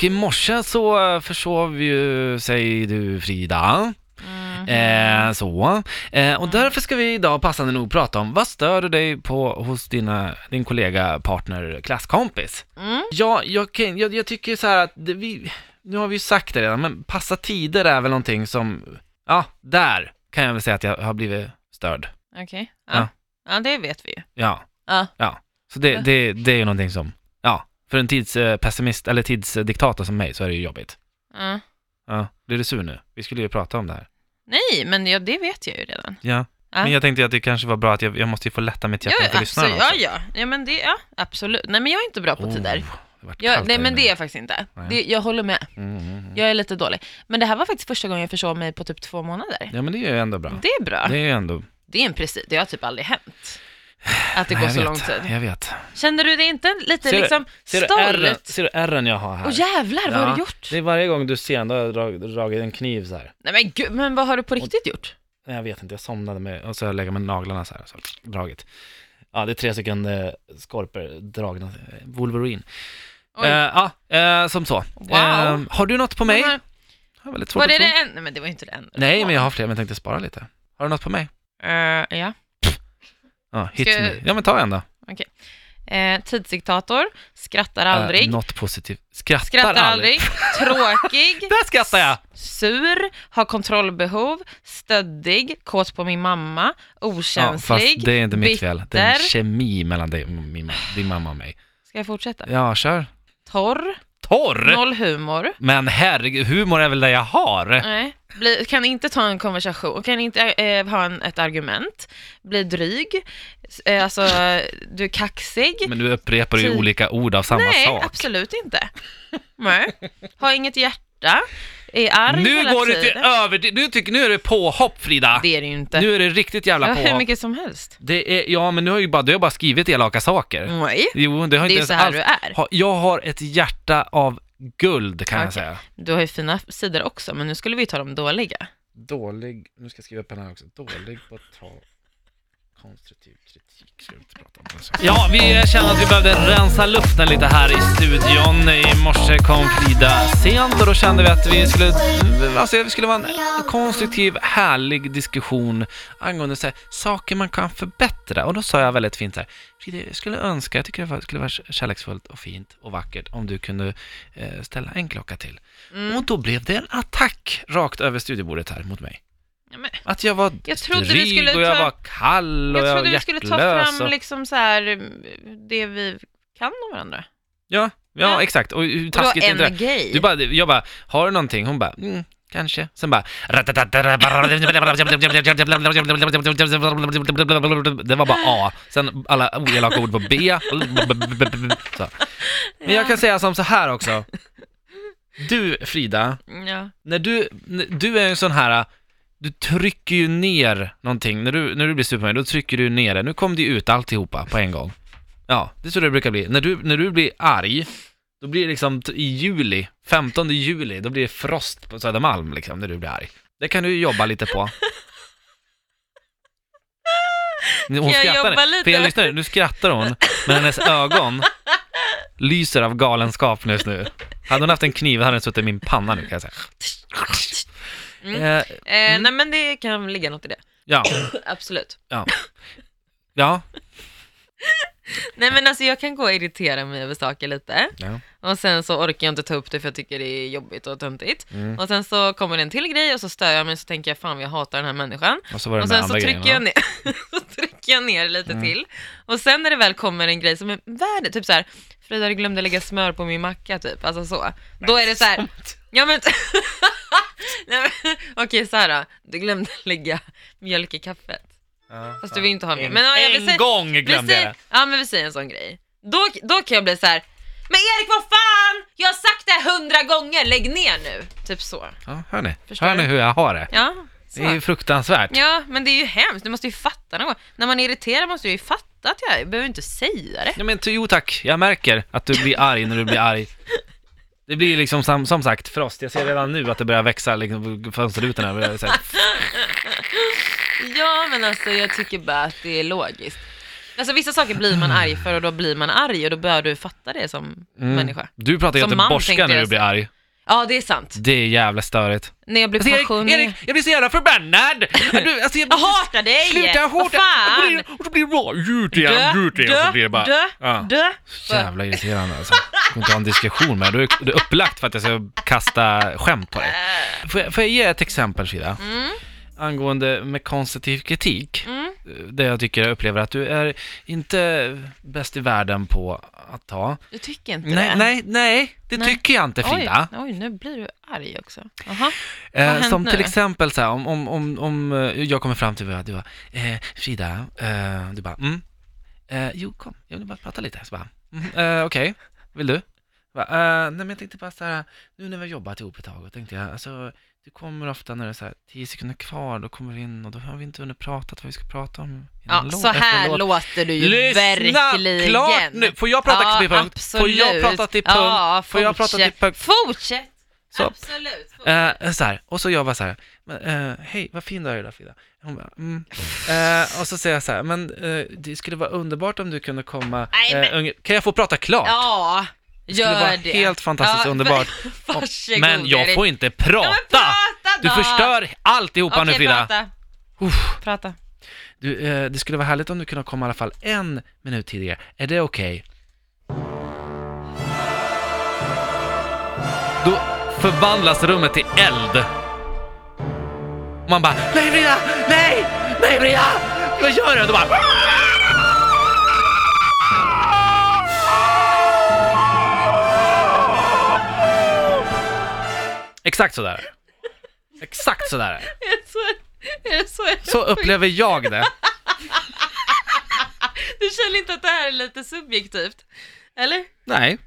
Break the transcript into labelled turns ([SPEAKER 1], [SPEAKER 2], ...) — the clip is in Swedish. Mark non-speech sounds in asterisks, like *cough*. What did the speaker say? [SPEAKER 1] Och i morse så eh, försov ju sig du Frida.
[SPEAKER 2] Mm. Mhm.
[SPEAKER 1] Eh, så. Eh, och därför ska vi idag passande nog prata om vad stör du dig på hos dina, din kollega, partner, klasskompis?
[SPEAKER 2] Mm.
[SPEAKER 1] Ja, jag, kan, jag, jag tycker så här att det, vi, nu har vi ju sagt det redan, men passa tider är väl någonting som, ja, där kan jag väl säga att jag har blivit störd.
[SPEAKER 2] Okej.
[SPEAKER 1] Ja.
[SPEAKER 2] Ja. ja. det vet vi ju.
[SPEAKER 1] Ja.
[SPEAKER 2] Ja.
[SPEAKER 1] ja. Så det, det, det är ju någonting som, ja, för en tidspessimist eller tidsdiktator som mig så är det ju jobbigt.
[SPEAKER 2] Ja.
[SPEAKER 1] Ja, blir du sur nu? Vi skulle ju prata om det här.
[SPEAKER 2] Nej, men ja, det vet jag ju redan.
[SPEAKER 1] Ja.
[SPEAKER 2] Ja.
[SPEAKER 1] Men jag tänkte ju att det kanske var bra att jag, jag måste ju få lätta mitt hjärta inför lyssnarna
[SPEAKER 2] absolut. Ja, ja. ja, men det, ja, absolut. Nej, men jag är inte bra på
[SPEAKER 1] Oh,
[SPEAKER 2] tider.
[SPEAKER 1] det vart
[SPEAKER 2] Jag,
[SPEAKER 1] kallt
[SPEAKER 2] nej,
[SPEAKER 1] där
[SPEAKER 2] men
[SPEAKER 1] inne.
[SPEAKER 2] det är jag faktiskt inte.
[SPEAKER 1] Nej.
[SPEAKER 2] Det, jag håller med.
[SPEAKER 1] Mm, mm, mm.
[SPEAKER 2] Jag är lite dålig. Men det här var faktiskt första gången jag försov mig på typ två månader.
[SPEAKER 1] Ja, men det är ju ändå bra.
[SPEAKER 2] Det är bra.
[SPEAKER 1] Det
[SPEAKER 2] Det,
[SPEAKER 1] är ju ändå...
[SPEAKER 2] är en precis. Det har typ aldrig hänt. Att det
[SPEAKER 1] Nej,
[SPEAKER 2] går
[SPEAKER 1] jag
[SPEAKER 2] så
[SPEAKER 1] vet.
[SPEAKER 2] lång tid.
[SPEAKER 1] Jag vet.
[SPEAKER 2] Känner du det inte lite
[SPEAKER 1] Ser du-
[SPEAKER 2] liksom
[SPEAKER 1] Ser du, ärren,
[SPEAKER 2] stolt?
[SPEAKER 1] ser du ärren jag har här?
[SPEAKER 2] Åh jävlar, vad har du
[SPEAKER 1] Ja,
[SPEAKER 2] gjort?
[SPEAKER 1] Det är varje gång du ser en, då har jag drag- dragit en kniv så här.
[SPEAKER 2] Nej men gud, men vad har du på riktigt gjort?
[SPEAKER 1] Nej, jag vet inte, jag somnade med, och så har jag legat med naglarna så här, så dragit. Ja, det är tre stycken eh, skorpor dragna, eh, Wolverine.
[SPEAKER 2] Oj.
[SPEAKER 1] Eh, Ja, eh, som så.
[SPEAKER 2] Wow.
[SPEAKER 1] Eh, har du något på mig?
[SPEAKER 2] Men har-
[SPEAKER 1] Har väldigt svårt
[SPEAKER 2] Var
[SPEAKER 1] att tro.
[SPEAKER 2] det det en? Nej men det var ju inte det enda.
[SPEAKER 1] Nej, men jag har fler, men jag tänkte spara lite. Har du något på mig?
[SPEAKER 2] Eh, ja.
[SPEAKER 1] Ja, hit
[SPEAKER 2] Ska-
[SPEAKER 1] me. Ja, men ta en då. Äh,
[SPEAKER 2] Eh, tidsdiktator, skrattar aldrig,
[SPEAKER 1] Eh, något positivt. Skrattar,
[SPEAKER 2] skrattar aldrig,
[SPEAKER 1] *laughs*
[SPEAKER 2] tråkig,
[SPEAKER 1] Där skrattar jag!
[SPEAKER 2] sur, har kontrollbehov, stöddig, kåt på min mamma,
[SPEAKER 1] Ja,
[SPEAKER 2] okänslig.
[SPEAKER 1] fast det är inte mitt fel. Det är en
[SPEAKER 2] bitter.
[SPEAKER 1] kemi mellan dig, och min, ma- din mamma och mig.
[SPEAKER 2] Ska jag fortsätta?
[SPEAKER 1] Ja, kör.
[SPEAKER 2] Torr,
[SPEAKER 1] Torr!
[SPEAKER 2] noll humor,
[SPEAKER 1] Men herregud, humor är väl det jag har?
[SPEAKER 2] nej, bli, kan inte ta en konversation, kan inte eh, ha en, ett argument, blir dryg, S- eh, alltså du är kaxig.
[SPEAKER 1] Men du upprepar ju
[SPEAKER 2] Ty-
[SPEAKER 1] olika ord av samma
[SPEAKER 2] Typ. nej,
[SPEAKER 1] sak.
[SPEAKER 2] absolut inte. Nej. Har inget hjärta, är arg
[SPEAKER 1] Nu
[SPEAKER 2] hela
[SPEAKER 1] går det
[SPEAKER 2] tiden.
[SPEAKER 1] till över... Nu, tycker, nu är det påhopp Frida!
[SPEAKER 2] Det är det ju inte.
[SPEAKER 1] Nu är det riktigt jävla
[SPEAKER 2] Ja, hur
[SPEAKER 1] påhopp.
[SPEAKER 2] mycket som helst.
[SPEAKER 1] Det är, ja, men nu har jag ju bara, du har bara skrivit elaka saker.
[SPEAKER 2] Nej,
[SPEAKER 1] Jo, det har Mm.
[SPEAKER 2] Mm. det är
[SPEAKER 1] inte
[SPEAKER 2] ju
[SPEAKER 1] ens
[SPEAKER 2] så här
[SPEAKER 1] alls...
[SPEAKER 2] du är.
[SPEAKER 1] Ha- Jag har ett hjärta av guld kan jag
[SPEAKER 2] Okej.
[SPEAKER 1] säga.
[SPEAKER 2] Du har ju fina sidor också, men nu skulle vi ju ta de dåliga.
[SPEAKER 1] Dålig, nu ska jag skriva upp den här också, dålig på att ta konstruktiv kritik. Ska vi inte prata om det ja, vi eh, kände att vi behövde rensa luften lite här i studion. I morse kom Frida sent och då kände vi att vi skulle, mm, alltså det skulle vara en konstruktiv, härlig diskussion angående så här, saker man kan förbättra. Och då sa jag väldigt fint så här, Frida, jag skulle önska, jag tycker det var- skulle vara kärleksfullt och fint och vackert om du kunde eh, ställa en klocka till.
[SPEAKER 2] Mm.
[SPEAKER 1] Och då blev det en attack rakt över studiebordet här mot mig.
[SPEAKER 2] Ja, men
[SPEAKER 1] Att jag var
[SPEAKER 2] Jag trodde du
[SPEAKER 1] dryg
[SPEAKER 2] skulle
[SPEAKER 1] och jag
[SPEAKER 2] ta-
[SPEAKER 1] var kall och
[SPEAKER 2] jag
[SPEAKER 1] jag, var
[SPEAKER 2] trodde vi skulle ta
[SPEAKER 1] hjärtlös.
[SPEAKER 2] fram
[SPEAKER 1] Och...
[SPEAKER 2] liksom så här, mm, det vi kan om varandra.
[SPEAKER 1] Ja, ja,
[SPEAKER 2] Ja.
[SPEAKER 1] exakt. Och hur
[SPEAKER 2] Och du
[SPEAKER 1] taskigt
[SPEAKER 2] har
[SPEAKER 1] är
[SPEAKER 2] en
[SPEAKER 1] inte det?
[SPEAKER 2] grej.
[SPEAKER 1] Du bara, jag bara, har du någonting? Hon bara, mm, kanske. Sen bara... *laughs* Det var bara A. Sen alla elaka ord på B. *laughs* Så. Men jag kan säga som så här också. Du, Frida,
[SPEAKER 2] ja.
[SPEAKER 1] när du, när- du är en sån här, du trycker ju ner någonting, när du, när du blir Superman, då trycker du ner det. Nu kom det ju ut alltihopa på en gång. Ja, det är så det brukar bli. När du, när du blir arg, då blir det liksom t- i juli, 15 juli, då blir det frost på Södermalm liksom, när du blir arg. Det kan du ju jobba lite
[SPEAKER 2] *laughs*
[SPEAKER 1] på. Hon
[SPEAKER 2] jag
[SPEAKER 1] skrattar,
[SPEAKER 2] jobba lite?
[SPEAKER 1] för jag lyssnar, nu skrattar hon, men hennes ögon lyser av galenskap just nu. Hade hon haft en kniv hade den suttit i min panna nu kan jag säga.
[SPEAKER 2] Mm.
[SPEAKER 1] Eh,
[SPEAKER 2] Eh, Nej men det kan ligga något i det.
[SPEAKER 1] ja,
[SPEAKER 2] Absolut.
[SPEAKER 1] ja,
[SPEAKER 2] Nej men alltså jag kan gå och irritera mig över saker lite.
[SPEAKER 1] Ja.
[SPEAKER 2] Och sen så orkar jag inte ta upp det för jag tycker det är jobbigt och töntigt.
[SPEAKER 1] Mm.
[SPEAKER 2] Och sen så kommer det en till grej och så stör jag mig och så tänker jag fan jag hatar den här människan.
[SPEAKER 1] och så var det
[SPEAKER 2] Och
[SPEAKER 1] den där
[SPEAKER 2] sen så
[SPEAKER 1] andra
[SPEAKER 2] trycker,
[SPEAKER 1] grejen. va?
[SPEAKER 2] jag ner, *laughs* så trycker jag ner lite
[SPEAKER 1] Mm.
[SPEAKER 2] till. Och sen när det väl kommer en grej som är värd, typ så här, Frida du glömde lägga smör på min macka typ, alltså så. Då är det så här, ja men, *laughs* Nej, men okej så här då, du glömde lägga mjölk i kaffet.
[SPEAKER 1] Ja,
[SPEAKER 2] Fast
[SPEAKER 1] ja.
[SPEAKER 2] du vill ju inte ha mjölk.
[SPEAKER 1] en,
[SPEAKER 2] Men ja, jag vill säga,
[SPEAKER 1] en gång
[SPEAKER 2] vi
[SPEAKER 1] glömde jag
[SPEAKER 2] säger,
[SPEAKER 1] det.
[SPEAKER 2] Ja men vi säger en sån grej. Då, då kan jag bli så här. men Erik vad fan! Jag har sagt det här hundra gånger, lägg ner nu! Typ så.
[SPEAKER 1] Ja, hör ni?
[SPEAKER 2] Förstår
[SPEAKER 1] Hör ni
[SPEAKER 2] du?
[SPEAKER 1] hur jag har det?
[SPEAKER 2] Ja, så.
[SPEAKER 1] Det är ju fruktansvärt.
[SPEAKER 2] Ja, men det är ju hemskt. Du måste ju fatta någon gång. När man är irriterad måste du ju fatta att jag är. Jag behöver inte säga det.
[SPEAKER 1] Ja, men t- jo tack, jag märker att du blir arg när du blir arg. Det blir liksom som, som sagt frost, jag ser redan nu att det börjar växa liksom, på fönsterrutorna. börjar så här.
[SPEAKER 2] Ja, men alltså jag tycker bara att det är logiskt. Alltså vissa saker blir man arg för och då blir man arg och då bör du fatta det som
[SPEAKER 1] Mm.
[SPEAKER 2] människa.
[SPEAKER 1] Du pratar
[SPEAKER 2] Som man tänkte
[SPEAKER 1] göteborgska när
[SPEAKER 2] jag
[SPEAKER 1] du blir arg.
[SPEAKER 2] Ja, det är sant.
[SPEAKER 1] Det är jävla störigt.
[SPEAKER 2] När jag blev
[SPEAKER 1] Alltså, Erik,
[SPEAKER 2] pensionär.
[SPEAKER 1] Erik, jag blir så jävla förbannad! Du, alltså, jag,
[SPEAKER 2] Jag hatar dig!
[SPEAKER 1] Sluta jag
[SPEAKER 2] Vad
[SPEAKER 1] hatar Och så
[SPEAKER 2] fan!
[SPEAKER 1] blir det- Och så blir det bara gjut igen, gjut igen. och Så blir det bara...
[SPEAKER 2] dö,
[SPEAKER 1] Ja.
[SPEAKER 2] dö.
[SPEAKER 1] Jävla irriterande alltså. Jag kan inte ha en diskussion med dig. Du är- du är upplagt för att jag ska kasta skämt på dig. Får jag, får jag ge ett exempel Frida?
[SPEAKER 2] Äh. Mm.
[SPEAKER 1] Angående med konstruktiv kritik.
[SPEAKER 2] Mm.
[SPEAKER 1] Där jag tycker jag upplever att du är inte bäst i världen på att ta.
[SPEAKER 2] Du tycker inte
[SPEAKER 1] Nej,
[SPEAKER 2] det?
[SPEAKER 1] nej, nej, det
[SPEAKER 2] Nej.
[SPEAKER 1] tycker jag inte Frida.
[SPEAKER 2] Oj, oj, nu blir du arg också. Aha. Vad har
[SPEAKER 1] Eh,
[SPEAKER 2] hänt
[SPEAKER 1] som
[SPEAKER 2] nu?
[SPEAKER 1] till exempel så här, om, om, om, om eh, jag kommer fram till vad du bara, eh, Frida, eh, du bara, mm, eh, jo kom, jag vill bara prata lite. Så bara, mm, eh, okej, vill du? Bara, eh, nej men jag tänkte bara så här, nu när vi har jobbat ihop ett tag, och tänkte jag, alltså du kommer ofta när det är så här, tio sekunder kvar, då kommer du in och då har vi inte hunnit prata vad vi ska prata om. innan
[SPEAKER 2] Ja,
[SPEAKER 1] låt-
[SPEAKER 2] så
[SPEAKER 1] efter
[SPEAKER 2] här
[SPEAKER 1] låt."
[SPEAKER 2] låter du ju
[SPEAKER 1] Lyssna
[SPEAKER 2] verkligen.
[SPEAKER 1] klart nu! Får jag prata till
[SPEAKER 2] ja,
[SPEAKER 1] punkt? Får jag
[SPEAKER 2] absolut.
[SPEAKER 1] prata till punkt?
[SPEAKER 2] Ja,
[SPEAKER 1] Får jag prata till
[SPEAKER 2] fortsätt.
[SPEAKER 1] punkt?
[SPEAKER 2] Fortsätt!
[SPEAKER 1] Så,
[SPEAKER 2] Absolut.
[SPEAKER 1] Eh, så här, och så jag bara så här, men, eh, hej vad fin du är idag Frida. Hon bara, mm. eh, och så säger jag så här, men eh, det skulle vara underbart om du kunde komma,
[SPEAKER 2] Nej, men-
[SPEAKER 1] eh, unge- kan jag få prata klart?
[SPEAKER 2] Ja,
[SPEAKER 1] det skulle vara
[SPEAKER 2] gör det.
[SPEAKER 1] helt fantastiskt
[SPEAKER 2] Ja, *laughs*
[SPEAKER 1] underbart.
[SPEAKER 2] för- Varsågod
[SPEAKER 1] Men jag
[SPEAKER 2] Erik.
[SPEAKER 1] får inte
[SPEAKER 2] Ja,
[SPEAKER 1] prata!
[SPEAKER 2] men prata
[SPEAKER 1] Du
[SPEAKER 2] då.
[SPEAKER 1] förstör alltihopa
[SPEAKER 2] Okej,
[SPEAKER 1] nu Frida.
[SPEAKER 2] prata.
[SPEAKER 1] Uff.
[SPEAKER 2] prata.
[SPEAKER 1] Du, eh, det skulle vara härligt om du kunde komma i alla fall en minut tidigare, är det okej? Då förvandlas rummet till eld. Man bara Nej Frida! Nej! Nej Frida! Vad gör du? Då bara Exakt sådär. Exakt sådär.
[SPEAKER 2] Är det så, är det så,
[SPEAKER 1] Så upplever jag det.
[SPEAKER 2] Du känner inte att det här är lite subjektivt? Eller?
[SPEAKER 1] Nej.